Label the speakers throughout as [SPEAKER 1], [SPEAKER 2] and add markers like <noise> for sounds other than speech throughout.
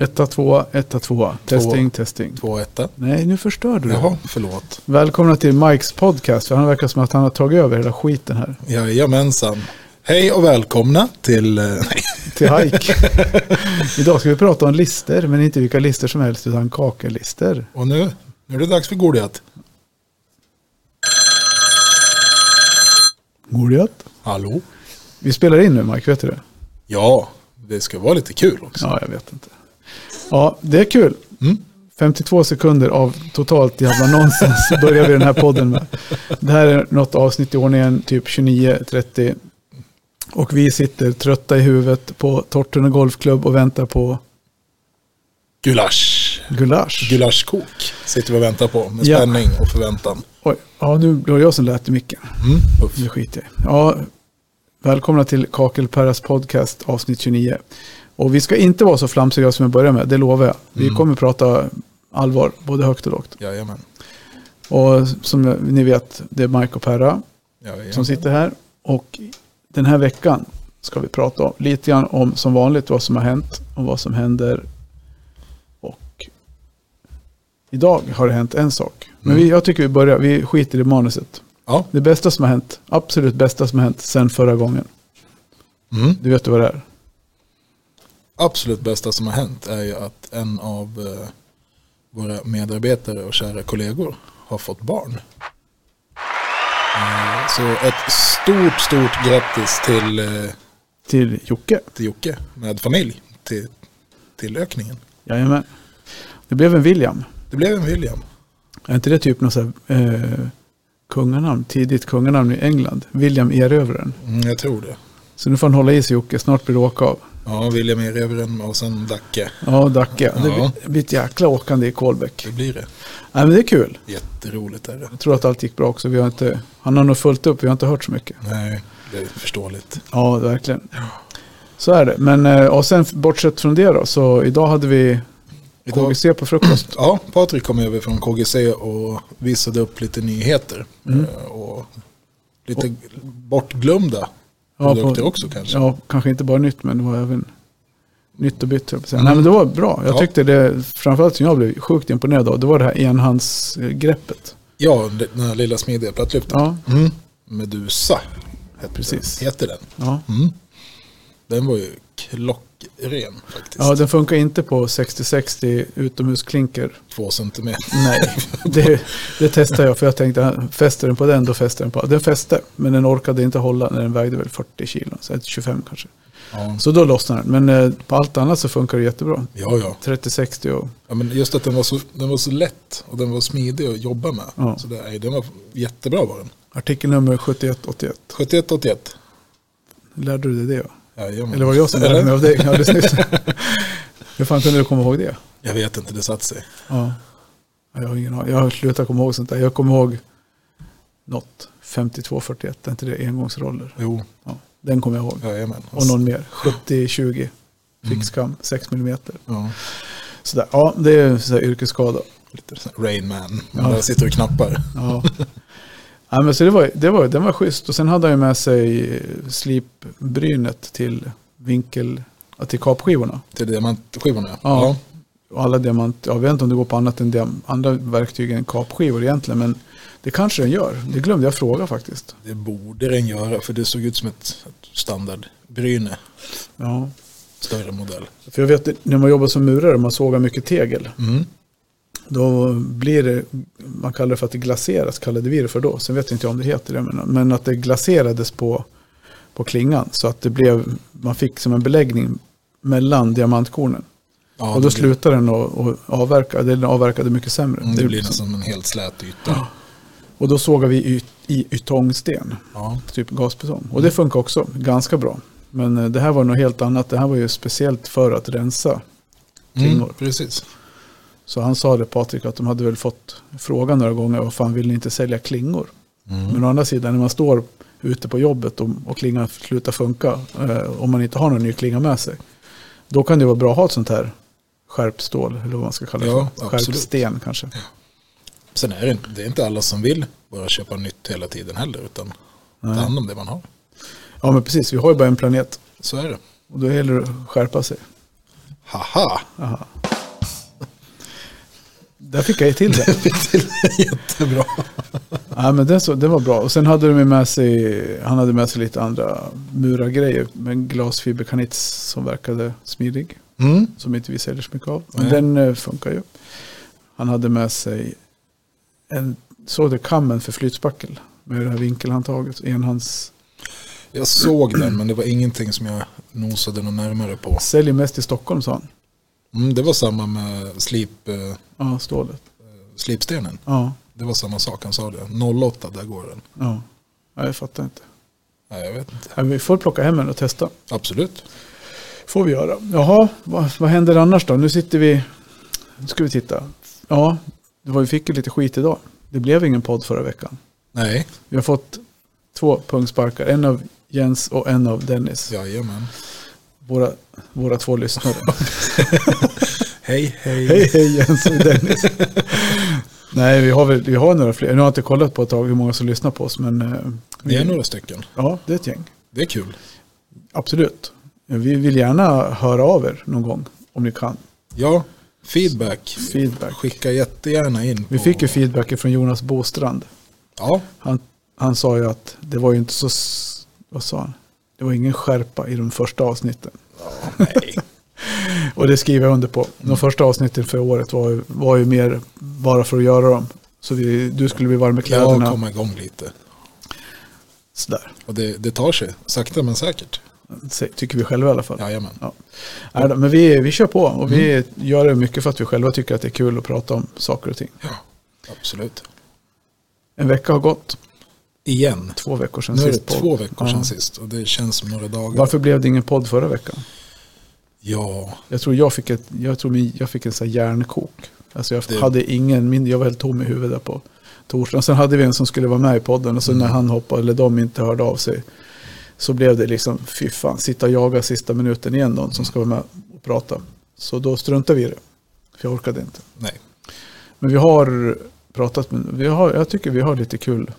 [SPEAKER 1] Etta, tvåa, etta, tvåa. Testing, testing.
[SPEAKER 2] Två etta.
[SPEAKER 1] Nej, nu förstörde du.
[SPEAKER 2] Jaha, förlåt.
[SPEAKER 1] Välkomna till Mikes podcast. För han verkar som att han har tagit över hela skiten här.
[SPEAKER 2] Jajamensan. Hej och välkomna till... eh, <laughs> Nej,
[SPEAKER 1] Till hike. Idag ska vi prata om lister, men inte vilka lister som helst, utan kakellister.
[SPEAKER 2] och nu, nu är det dags för Goliat.
[SPEAKER 1] Goliat.
[SPEAKER 2] Hallå?
[SPEAKER 1] Vi spelar in nu, Mike. Vet du det?
[SPEAKER 2] Ja, det ska vara lite kul också.
[SPEAKER 1] Ja, jag vet inte. Ja, det är kul. 52 sekunder av totalt jävla nonsens börjar vi den här podden med. Det här är något avsnitt i ordningen, typ 29-30. Och vi sitter trötta i huvudet på Tortuna Golfklubb och väntar på
[SPEAKER 2] Gulasch.
[SPEAKER 1] gulasch.
[SPEAKER 2] Gulaschkok sitter vi och väntar på med
[SPEAKER 1] Ja.
[SPEAKER 2] spänning och förväntan.
[SPEAKER 1] Oj, ja, nu var det jag som lät i micken.
[SPEAKER 2] Mm. Puff.
[SPEAKER 1] Det skiter jag i. Ja, Välkomna till Kakelperras podcast avsnitt 29. Och vi ska inte vara så flamsiga som vi börjar med, det lovar jag. Vi kommer prata allvar, både högt och lågt.
[SPEAKER 2] Jajamän.
[SPEAKER 1] Och som ni vet, det är Mike och Perra
[SPEAKER 2] Jajamän.
[SPEAKER 1] som sitter här. Och den här veckan ska vi prata om, lite grann om som vanligt vad som har hänt och vad som händer. Och idag har det hänt en sak. Men vi, jag tycker vi börjar, vi skiter i manuset.
[SPEAKER 2] Ja.
[SPEAKER 1] Det bästa som har hänt, absolut bästa som har hänt sedan förra gången.
[SPEAKER 2] Mm.
[SPEAKER 1] Du vet ju vad det är.
[SPEAKER 2] Absolut bästa som har hänt är ju att en av eh, våra medarbetare och kära kollegor har fått barn. Eh, Så ett stort, stort grattis till eh,
[SPEAKER 1] Till Jocke.
[SPEAKER 2] till Jocke med familj till, till ökningen.
[SPEAKER 1] Jajamän. Det blev en William.
[SPEAKER 2] Det blev en William.
[SPEAKER 1] Är inte det typ något så här, eh, kunganamn, tidigt kunganamn i England? William Erövraren.
[SPEAKER 2] Mm, jag tror det.
[SPEAKER 1] Så nu får han hålla i sig Jocke, snart blir det åka av.
[SPEAKER 2] Ja, William Erövren och sen Dacke.
[SPEAKER 1] Ja, Dacke. Det
[SPEAKER 2] Ja.
[SPEAKER 1] blir- blir ett jäkla åkande i Kolbäck.
[SPEAKER 2] Det blir det.
[SPEAKER 1] Nej, men det är kul.
[SPEAKER 2] Jätteroligt är det.
[SPEAKER 1] Jag tror att allt gick bra också. Vi har inte, han har nog fullt upp, vi har inte hört så mycket.
[SPEAKER 2] Nej, det är förståeligt.
[SPEAKER 1] Ja, verkligen. Så är det. Men eh, och sen bortsett från det då, så idag hade vi
[SPEAKER 2] Idag-
[SPEAKER 1] KGC på frukost.
[SPEAKER 2] Ja, Patrik kom över från KGC och visade upp lite nyheter.
[SPEAKER 1] Mm.
[SPEAKER 2] eh, Och lite bortglömda
[SPEAKER 1] Ja,
[SPEAKER 2] produkter
[SPEAKER 1] på-
[SPEAKER 2] också kanske.
[SPEAKER 1] Ja, kanske inte bara nytt, men det var även nytt och bytt. höll jag på att säga. Nej, men det var bra. Jag
[SPEAKER 2] Mm. Ja.
[SPEAKER 1] tyckte det, framförallt som jag blev sjukt imponerad av, det var det här enhandsgreppet.
[SPEAKER 2] Ja, den här lilla smidiga plattlyften.
[SPEAKER 1] Ja,
[SPEAKER 2] Mm. Medusa heter,
[SPEAKER 1] Precis.
[SPEAKER 2] heter den. Mm.
[SPEAKER 1] ja.
[SPEAKER 2] Den var ju klockren faktiskt.
[SPEAKER 1] ja, den funkar inte på 60-60 utomhusklinker.
[SPEAKER 2] Två centimeter.
[SPEAKER 1] Nej, <laughs> det, det testade jag för jag tänkte "Ah, fäster den på den då fäster den på Den fäste, men den orkade inte hålla när den vägde väl 40 kilo, så ett 25 kanske.
[SPEAKER 2] <laughs> Ja.
[SPEAKER 1] Så då lossnade den, men eh, på allt annat så funkar det jättebra.
[SPEAKER 2] Ja, ja.
[SPEAKER 1] 30-60 och
[SPEAKER 2] ja men just att den var, så, den var så lätt och den var smidig att jobba med.
[SPEAKER 1] Ja.
[SPEAKER 2] Så det, nej, den var jättebra var den.
[SPEAKER 1] artikelnummer 7181.
[SPEAKER 2] 7181.
[SPEAKER 1] Lärde du dig det? Ja?
[SPEAKER 2] Jajamän.
[SPEAKER 1] Eller var det jag som lärde mig av dig alldeles nyss? <laughs> Hur fan kunde du komma ihåg det?
[SPEAKER 2] Jag vet inte, det satt sig.
[SPEAKER 1] Ja. Ja, Jag har ingen aning. Jag har slutat komma ihåg sånt där. Jag kommer ihåg något. 5241, är inte det engångsroller?
[SPEAKER 2] Jo,
[SPEAKER 1] Ja, den kommer jag ihåg.
[SPEAKER 2] jajamän.
[SPEAKER 1] Och någon mer. 70-20. Fixkam, 6 mm.
[SPEAKER 2] Ja,
[SPEAKER 1] Sådär. Ja, det är en sån här yrkesskada.
[SPEAKER 2] lite sån här Rain Man. Man
[SPEAKER 1] Ja.
[SPEAKER 2] där sitter och knappar.
[SPEAKER 1] <laughs> Ja. ja, men så det var, det var, den var schysst. Och sen hade han ju med sig eh, slipbrynet till vinkel, ja, till kapskivorna.
[SPEAKER 2] Till diamantskivorna.
[SPEAKER 1] Ja. Och alla diamant, jag vet inte om det går på annat än diam, andra verktyg än kapskivor egentligen, men det kanske den gör. Det glömde jag fråga faktiskt.
[SPEAKER 2] Det borde den göra, för det såg ut som ett ett standardbryne.
[SPEAKER 1] Ja.
[SPEAKER 2] Större modell.
[SPEAKER 1] För jag vet när man jobbar som murare, man sågar mycket tegel,
[SPEAKER 2] Mm.
[SPEAKER 1] då blir det, man kallar det för att det glaseras, kallade vi det för då. Sen vet inte jag om det heter det, men, men att det glaserades på, på klingan så att det blev, man fick som en beläggning mellan diamantkornen.
[SPEAKER 2] Ja,
[SPEAKER 1] och då
[SPEAKER 2] det blir-
[SPEAKER 1] slutade den att att avverka, den avverkade mycket sämre.
[SPEAKER 2] mm, Det blir
[SPEAKER 1] liksom-
[SPEAKER 2] nästan en helt slät yta.
[SPEAKER 1] Och då sågar vi i, i ytongsten.
[SPEAKER 2] Ja.
[SPEAKER 1] typ gasbetong. Och det funkar också ganska bra. Men eh, det här var något helt annat. Det här var ju speciellt för att rensa.
[SPEAKER 2] Mm,
[SPEAKER 1] Kvinnor.
[SPEAKER 2] precis.
[SPEAKER 1] Så han sa det Patrik att de hade väl fått frågan några gånger varför han vill ni inte sälja klingor.
[SPEAKER 2] Mm.
[SPEAKER 1] Men å andra sidan när man står ute på jobbet och, och klingan slutar funka eh, om man inte har någon ny klinga med sig. Då kan det vara bra att ha ett sånt här skärpstål eller vad man ska kalla det
[SPEAKER 2] Ja,
[SPEAKER 1] för.
[SPEAKER 2] absolut.
[SPEAKER 1] Skärpsten kanske.
[SPEAKER 2] Sen är det, inte- det är inte alla som vill bara köpa nytt hela tiden heller, utan ta hand om det man har.
[SPEAKER 1] Ja men precis, vi har ju bara en planet
[SPEAKER 2] Så är det.
[SPEAKER 1] och då gäller det att skärpa sig.
[SPEAKER 2] Haha! <laughs>
[SPEAKER 1] Aha. Där fick jag ju till
[SPEAKER 2] <laughs>
[SPEAKER 1] det.
[SPEAKER 2] Fick till det jättebra.
[SPEAKER 1] Nej, men det, så, det var bra. Och sen hade de ju med sig, han hade med sig lite andra murargrejer. Men glasfiberkanit som verkade smidig.
[SPEAKER 2] Mm.
[SPEAKER 1] Som inte vi säljer så mycket av. Men
[SPEAKER 2] Nej.
[SPEAKER 1] den eh, funkar ju. Han hade med sig en, såg du kammen för flytspackel? Med det här vinkelhandtaget. Enhands,
[SPEAKER 2] Jag såg den men det var ingenting som jag nosade något närmare på.
[SPEAKER 1] säljer mest i Stockholm sa han.
[SPEAKER 2] Mm, det var samma med slip, eh,
[SPEAKER 1] Ja, stålet.
[SPEAKER 2] slipstenen.
[SPEAKER 1] Ja,
[SPEAKER 2] Det var samma sak han sa det. 08 där går den.
[SPEAKER 1] ja. Nej, jag fattar inte.
[SPEAKER 2] Nej, jag vet inte.
[SPEAKER 1] Nej, vi får plocka hem en och testa.
[SPEAKER 2] Absolut.
[SPEAKER 1] får vi göra. Jaha, vad, vad händer annars då? Nu sitter vi... Nu ska vi titta. Ja, det var, vi fick ju lite skit idag. Det blev ingen podd förra veckan.
[SPEAKER 2] Nej,
[SPEAKER 1] Vi har fått två pungsparkar. En av Jens och en av Dennis.
[SPEAKER 2] jajamän.
[SPEAKER 1] Våra, våra två
[SPEAKER 2] <laughs>
[SPEAKER 1] lyssnare.
[SPEAKER 2] Hej, hej.
[SPEAKER 1] hej, hej Jens och
[SPEAKER 2] <laughs>
[SPEAKER 1] Dennis. Nej, vi har, väl, vi har några fler. Nu har jag inte kollat på ett tag hur många som lyssnar på oss. Men, eh,
[SPEAKER 2] Det är
[SPEAKER 1] vi-
[SPEAKER 2] några stycken.
[SPEAKER 1] Ja, det är ett gäng.
[SPEAKER 2] Det är kul.
[SPEAKER 1] Absolut. Vi vill gärna höra av er någon gång om ni kan.
[SPEAKER 2] Ja, feedback.
[SPEAKER 1] Feedback.
[SPEAKER 2] Skicka jättegärna in.
[SPEAKER 1] Vi
[SPEAKER 2] på-
[SPEAKER 1] fick ju feedback från Jonas Bostrand.
[SPEAKER 2] Ja,
[SPEAKER 1] Han, han sa ju att det var ju inte så, s- vad sa han? Det var ingen skärpa i de första avsnitten.
[SPEAKER 2] nej.
[SPEAKER 1] Och det skriver jag under på. De
[SPEAKER 2] Mm.
[SPEAKER 1] första avsnitten för året var ju, var ju mer bara för att göra dem. Så vi, du skulle bli varm i
[SPEAKER 2] Jag
[SPEAKER 1] kläderna.
[SPEAKER 2] komma igång lite.
[SPEAKER 1] Sådär,
[SPEAKER 2] Och det, det tar sig, sakta men säkert.
[SPEAKER 1] Se- tycker vi själva i alla fall.
[SPEAKER 2] Jajamän.
[SPEAKER 1] Nej då, men vi, vi kör på och vi
[SPEAKER 2] Mm.
[SPEAKER 1] gör det mycket för att vi själva tycker att det är kul att prata om saker och ting.
[SPEAKER 2] Ja, absolut.
[SPEAKER 1] En vecka har gått,
[SPEAKER 2] Igen.
[SPEAKER 1] två veckor sedan
[SPEAKER 2] Nu är det
[SPEAKER 1] sist. podd.
[SPEAKER 2] två veckor sedan
[SPEAKER 1] Ja.
[SPEAKER 2] sist och det känns som några dagar.
[SPEAKER 1] Varför blev det ingen podd förra veckan?
[SPEAKER 2] Ja,
[SPEAKER 1] Jag tror jag fick, ett, jag tror min, jag fick en sån här hjärnkok. Alltså jag,
[SPEAKER 2] Det-
[SPEAKER 1] hade ingen, min, jag var helt tom i huvudet där på torsdagen. Sen hade vi en som skulle vara med i podden och så
[SPEAKER 2] Mm.
[SPEAKER 1] när han hoppade, eller de inte hörde av sig, så blev det liksom, fy fan, sitta och jaga sista minuten igen någon som ska vara med och prata. Så då struntade vi i det, för jag orkade inte.
[SPEAKER 2] nej.
[SPEAKER 1] Men vi har pratat, med, vi har, jag tycker vi har lite kul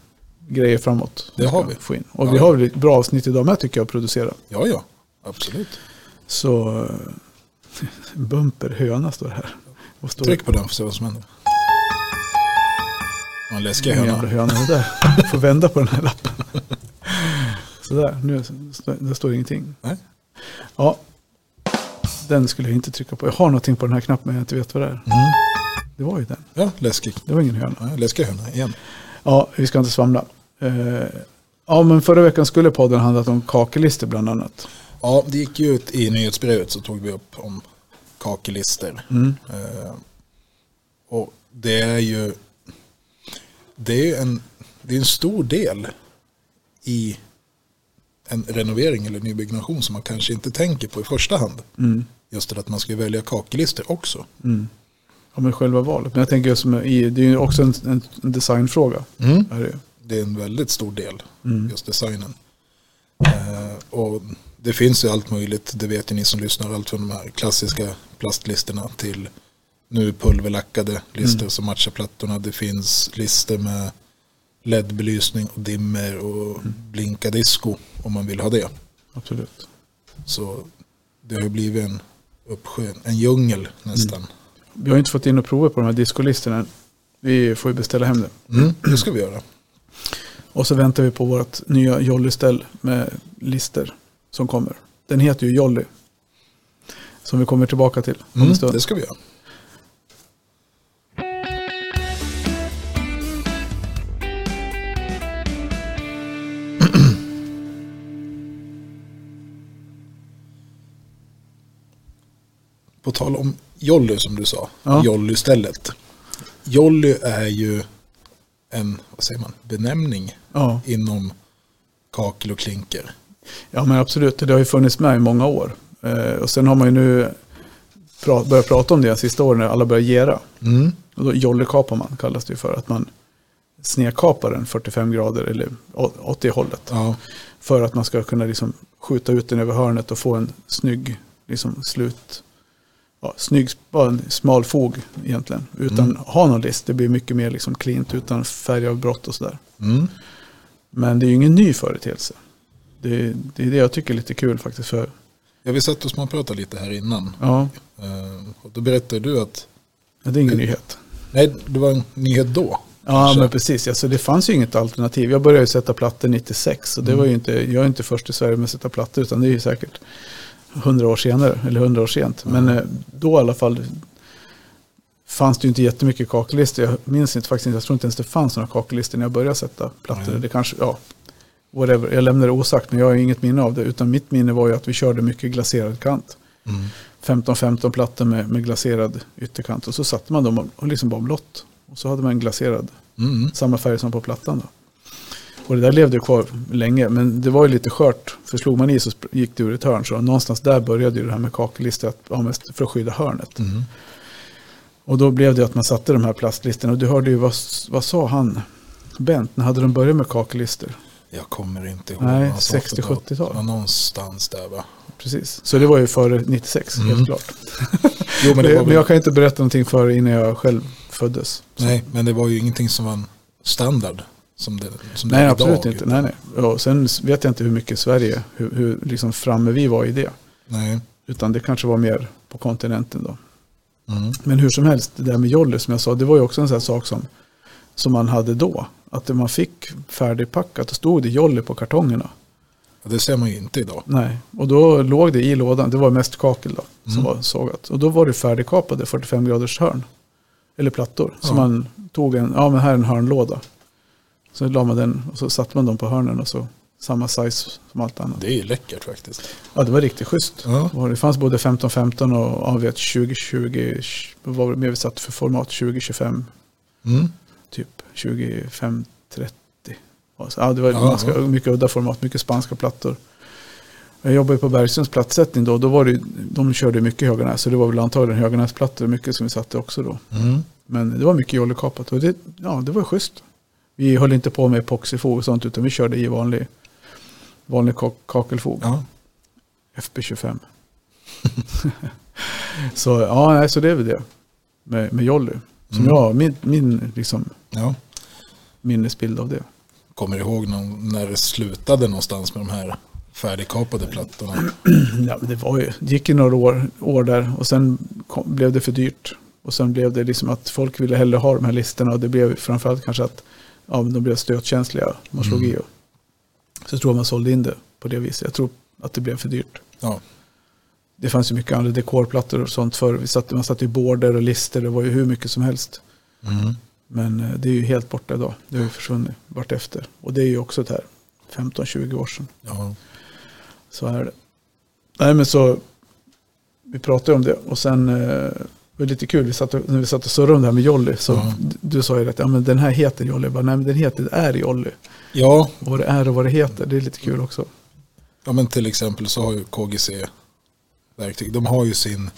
[SPEAKER 1] grejer framåt. som
[SPEAKER 2] Det har
[SPEAKER 1] ska
[SPEAKER 2] vi.
[SPEAKER 1] Få in. Och
[SPEAKER 2] Ja.
[SPEAKER 1] vi har ett bra avsnitt idag med tycker jag att producera.
[SPEAKER 2] Ja, ja. Absolut.
[SPEAKER 1] Så eh, bumper höna står det här. Vad står
[SPEAKER 2] Tryck på den för att se vad som händer. Ja, En läskig
[SPEAKER 1] Vilken jävla
[SPEAKER 2] höna.
[SPEAKER 1] höna det där. Får vända på den här lappen. Sådär, nu står- det står ingenting.
[SPEAKER 2] Nej.
[SPEAKER 1] Ja, den skulle jag inte trycka på. Jag har någonting på den här knappen men jag inte vet vad det är.
[SPEAKER 2] Mm.
[SPEAKER 1] Det var ju den.
[SPEAKER 2] Ja, läskig.
[SPEAKER 1] Det var ingen höna.
[SPEAKER 2] Ja, läskig höna igen.
[SPEAKER 1] Ja, vi ska inte svamla. Eh, ja, men förra veckan skulle podden handlat om kakelister bland annat.
[SPEAKER 2] Ja, det gick ju ut i nyhetsbrevet så tog vi upp om kakelister. Eh, och det är ju det är ju en, det är en stor del i en renovering eller nybyggnation som man kanske inte tänker på i första hand. Just det att man ska välja kakelister också.
[SPEAKER 1] Ja, men själva valet. Men jag tänker som i, det är ju också en, en en designfråga. Är
[SPEAKER 2] Mm.
[SPEAKER 1] det ju.
[SPEAKER 2] Det är en väldigt stor del, just designen. Eh, och det finns ju allt möjligt, det vet ju ni som lyssnar, allt från de här klassiska plastlisterna till nu pulverlackade lister som matchar plattorna. Det finns lister med LED-belysning och dimmer och blinka disco om man vill ha det.
[SPEAKER 1] Absolut.
[SPEAKER 2] Så det har ju blivit en uppsjö, en djungel nästan.
[SPEAKER 1] Vi har ju inte fått in och prova på de här discolisterna än. Vi får ju beställa hem det.
[SPEAKER 2] Mm, det ska vi göra.
[SPEAKER 1] Och så väntar vi på vårt nya Jolly-ställ med lister som kommer. Den heter ju Jolly. Som vi kommer tillbaka till om
[SPEAKER 2] Mm,
[SPEAKER 1] en stund.
[SPEAKER 2] det ska vi göra. På tal om Jolly som du sa,
[SPEAKER 1] Ja.
[SPEAKER 2] Jolly-stället. Jolly är ju en vad säger man, benämning
[SPEAKER 1] Ja.
[SPEAKER 2] inom kakel och klinker.
[SPEAKER 1] ja, men absolut. Det har ju funnits med i många år. Eh, och sen har man ju nu pra- börjat prata om det de sista åren när alla börjar gera. Och då Jolly-kapar man, kallas det ju för. Att man snedkapar den 45 grader eller å- åt det hållet.
[SPEAKER 2] Ja,
[SPEAKER 1] För att man ska kunna liksom skjuta ut den över hörnet och få en snygg liksom slut. Ja, snygg, bara en smal fog egentligen. Utan ha någon list. Det blir mycket mer liksom klint utan färgavbrott och sådär.
[SPEAKER 2] mm.
[SPEAKER 1] Men det är ju ingen ny företeelse. Det, det är det jag tycker är lite kul faktiskt. För,
[SPEAKER 2] ja vi satt och småpratade lite här innan.
[SPEAKER 1] ja,
[SPEAKER 2] Eh, Och då berättade du att
[SPEAKER 1] det är ingen nyhet.
[SPEAKER 2] Nej, det var en nyhet då.
[SPEAKER 1] Ja, men precis. Alltså, det fanns ju inget alternativ. Jag började ju sätta plattor 96. Och det var ju inte, jag är inte först i Sverige med att sätta plattor, utan det är ju säkert 100 år senare, eller 100 år sent. Men eh, då i alla fall fanns det ju inte jättemycket kakellistor. Jag minns inte faktiskt, inte. jag tror inte ens det fanns några kakellistor när jag började sätta plattor.
[SPEAKER 2] Nej.
[SPEAKER 1] Det kanske, ja, whatever. Jag lämnar det osagt, men jag har ju inget minne av det. Utan mitt minne var ju att vi körde mycket glaserad kant. 15-15 plattor med, med glaserad ytterkant. Och så satte man dem och- och liksom bara blått. Och så hade man en glaserad
[SPEAKER 2] Mm.
[SPEAKER 1] samma färg som på plattan. Då. Och det där levde ju kvar länge, men det var ju lite skört. För slog man i så sp- gick det ur ett hörn. Så någonstans där började ju det här med kakellister, att, ja, mest för att skydda hörnet.
[SPEAKER 2] Mm.
[SPEAKER 1] Och då blev det ju att man satte de här plastlisterna. Och du hörde ju, vad, s- vad sa han? Bent, när hade de börjat med kakellister?
[SPEAKER 2] Jag kommer inte ihåg.
[SPEAKER 1] Nej,
[SPEAKER 2] vad han sa för
[SPEAKER 1] 60-70-tal.
[SPEAKER 2] något. Ja, Någonstans där va.
[SPEAKER 1] Precis. Så det var ju före 96, helt klart.
[SPEAKER 2] Jo, Mm. men
[SPEAKER 1] Men,
[SPEAKER 2] det var väl,
[SPEAKER 1] jag kan inte berätta någonting före innan jag själv föddes.
[SPEAKER 2] Nej, men det var ju ingenting som var en standard. Som det, som det
[SPEAKER 1] Nej,
[SPEAKER 2] är
[SPEAKER 1] absolut
[SPEAKER 2] idag,
[SPEAKER 1] inte.
[SPEAKER 2] utan-
[SPEAKER 1] Nej, nej. Ja, Och sen s- vet jag inte hur mycket Sverige, hur, hur liksom framme vi var i det.
[SPEAKER 2] Nej.
[SPEAKER 1] Utan det kanske var mer på kontinenten då.
[SPEAKER 2] Mm.
[SPEAKER 1] Men hur som helst, det där med Jolly som jag sa, det var ju också en sån här sak som, som man hade då. Att det man fick färdigpackat, då stod det Jolly på kartongerna.
[SPEAKER 2] Ja, Det ser man ju inte idag.
[SPEAKER 1] Nej, och då låg det i lådan, det var mest kakel då, som var sågat. Och då var det färdigkapade 45 graders hörn, eller plattor. Så
[SPEAKER 2] Ja.
[SPEAKER 1] man tog en, ja men här är en hörnlåda. Så la man den och så satte man dem på hörnen och så samma size som allt annat.
[SPEAKER 2] Det är ju läckert faktiskt.
[SPEAKER 1] Ja, det var riktigt schysst.
[SPEAKER 2] Ja.
[SPEAKER 1] Och Det fanns både 15-15 och avvet 20-20. Vad var det mer vi satt för format? 20-25,
[SPEAKER 2] Mm.
[SPEAKER 1] typ 25-30. Och så- Ja, det var
[SPEAKER 2] Ja,
[SPEAKER 1] ganska,
[SPEAKER 2] ja.
[SPEAKER 1] mycket udda format, mycket spanska plattor. Jag jobbade ju på Bergströms plattsättning då. då var det, ju- de körde ju mycket Höganäs, så det var väl antagligen Höganäsplattor mycket som vi satte också då.
[SPEAKER 2] Mm.
[SPEAKER 1] Men det var mycket jollykapat och det, ja, det var schysst. Vi höll inte på med epoxifog och sånt utan vi körde i vanlig, vanlig kak- kakelfog.
[SPEAKER 2] Ja.
[SPEAKER 1] FP25. <laughs> så ja, nej, så det är väl det med, med Jolly. Som
[SPEAKER 2] Mm.
[SPEAKER 1] jag, min, min liksom,
[SPEAKER 2] ja.
[SPEAKER 1] minnesbild av det.
[SPEAKER 2] Kommer du ihåg någon, när det slutade någonstans med de här färdigkapade plattorna?
[SPEAKER 1] <clears throat> Ja, men det, var ju, det gick ju några år, år där och sen kom, blev det för dyrt. Och sen blev det liksom att folk ville hellre ha de här listorna och det blev framförallt kanske att ja, men de blev stötkänsliga. Man slog i och så tror jag man sålde in det på det viset. Jag tror att det blev för dyrt.
[SPEAKER 2] Ja.
[SPEAKER 1] Det fanns ju mycket andra dekorplattor och sånt förr. Vi satte, man satte ju border och lister. Det var ju hur mycket som helst.
[SPEAKER 2] Mm.
[SPEAKER 1] Men eh, det är ju helt borta idag. Det har ju försvunnit vartefter. Och det är ju också det här 15-20 år sedan.
[SPEAKER 2] ja.
[SPEAKER 1] Så är det. Nej men så, vi pratade ju om det och sen eh, det var lite kul, vi satt, och- när vi satt och surrade om det här med Jolly så
[SPEAKER 2] Ja.
[SPEAKER 1] d- du sa ju att ja, men den här heter Jolly. Jag bara, nej men den heter, det är Jolly.
[SPEAKER 2] Ja,
[SPEAKER 1] Och Vad det är och vad det heter, det är lite kul också.
[SPEAKER 2] Ja men till exempel så har ju KGC verktyg. De har ju sin,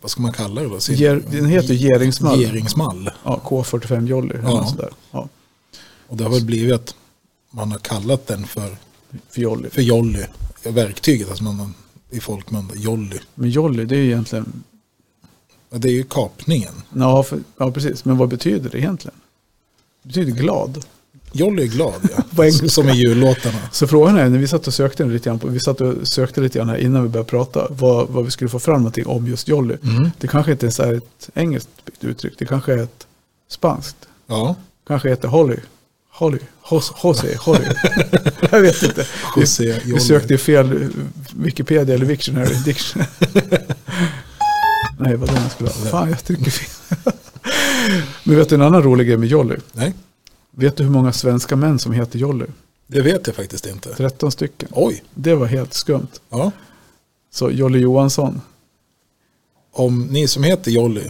[SPEAKER 2] vad ska man kalla det då? Sin,
[SPEAKER 1] Ger, den heter ju Geringsmall.
[SPEAKER 2] Geringsmall.
[SPEAKER 1] Ja, K45 Jolly. eller
[SPEAKER 2] Ja.
[SPEAKER 1] något sådär. Ja,
[SPEAKER 2] Och det har väl blivit att man har kallat den för,
[SPEAKER 1] för Jolly.
[SPEAKER 2] för jolly. Verktyget, alltså man, i folkmun, jolly.
[SPEAKER 1] Men Jolly det är ju egentligen,
[SPEAKER 2] Ja, Det är ju kapningen.
[SPEAKER 1] ja, för, ja precis, men vad betyder det egentligen? Det betyder glad.
[SPEAKER 2] Jolly är
[SPEAKER 1] <laughs>
[SPEAKER 2] glad
[SPEAKER 1] På
[SPEAKER 2] ja.
[SPEAKER 1] engelska.
[SPEAKER 2] Som i jullåtarna.
[SPEAKER 1] Så frågan är, när vi satt och sökte lite grann, på, vi satt och sökte lite grann här innan vi började prata, vad, vad vi skulle få fram någonting om just Jolly.
[SPEAKER 2] Mm.
[SPEAKER 1] Det kanske inte ens är ett engelskt uttryck, det kanske är ett spanskt.
[SPEAKER 2] Ja,
[SPEAKER 1] Kanske heter Holly. Holly, Jos, Jose,
[SPEAKER 2] <laughs>
[SPEAKER 1] Holly. Jag vet inte. Vi,
[SPEAKER 2] José Jolly.
[SPEAKER 1] vi sökte ju fel eh, Wikipedia eller
[SPEAKER 2] <laughs>
[SPEAKER 1] Victionary. Dictionary. Nej, vad den jag skulle ha. Fan, jag trycker fel. <laughs> Men vet du en annan rolig grej med Jolly?
[SPEAKER 2] Nej,
[SPEAKER 1] Vet du hur många svenska män som heter Jolly?
[SPEAKER 2] det vet jag faktiskt inte.
[SPEAKER 1] 13 stycken.
[SPEAKER 2] Oj,
[SPEAKER 1] Det var helt skumt.
[SPEAKER 2] ja.
[SPEAKER 1] Så Jolly Johansson.
[SPEAKER 2] Om ni som heter Jolly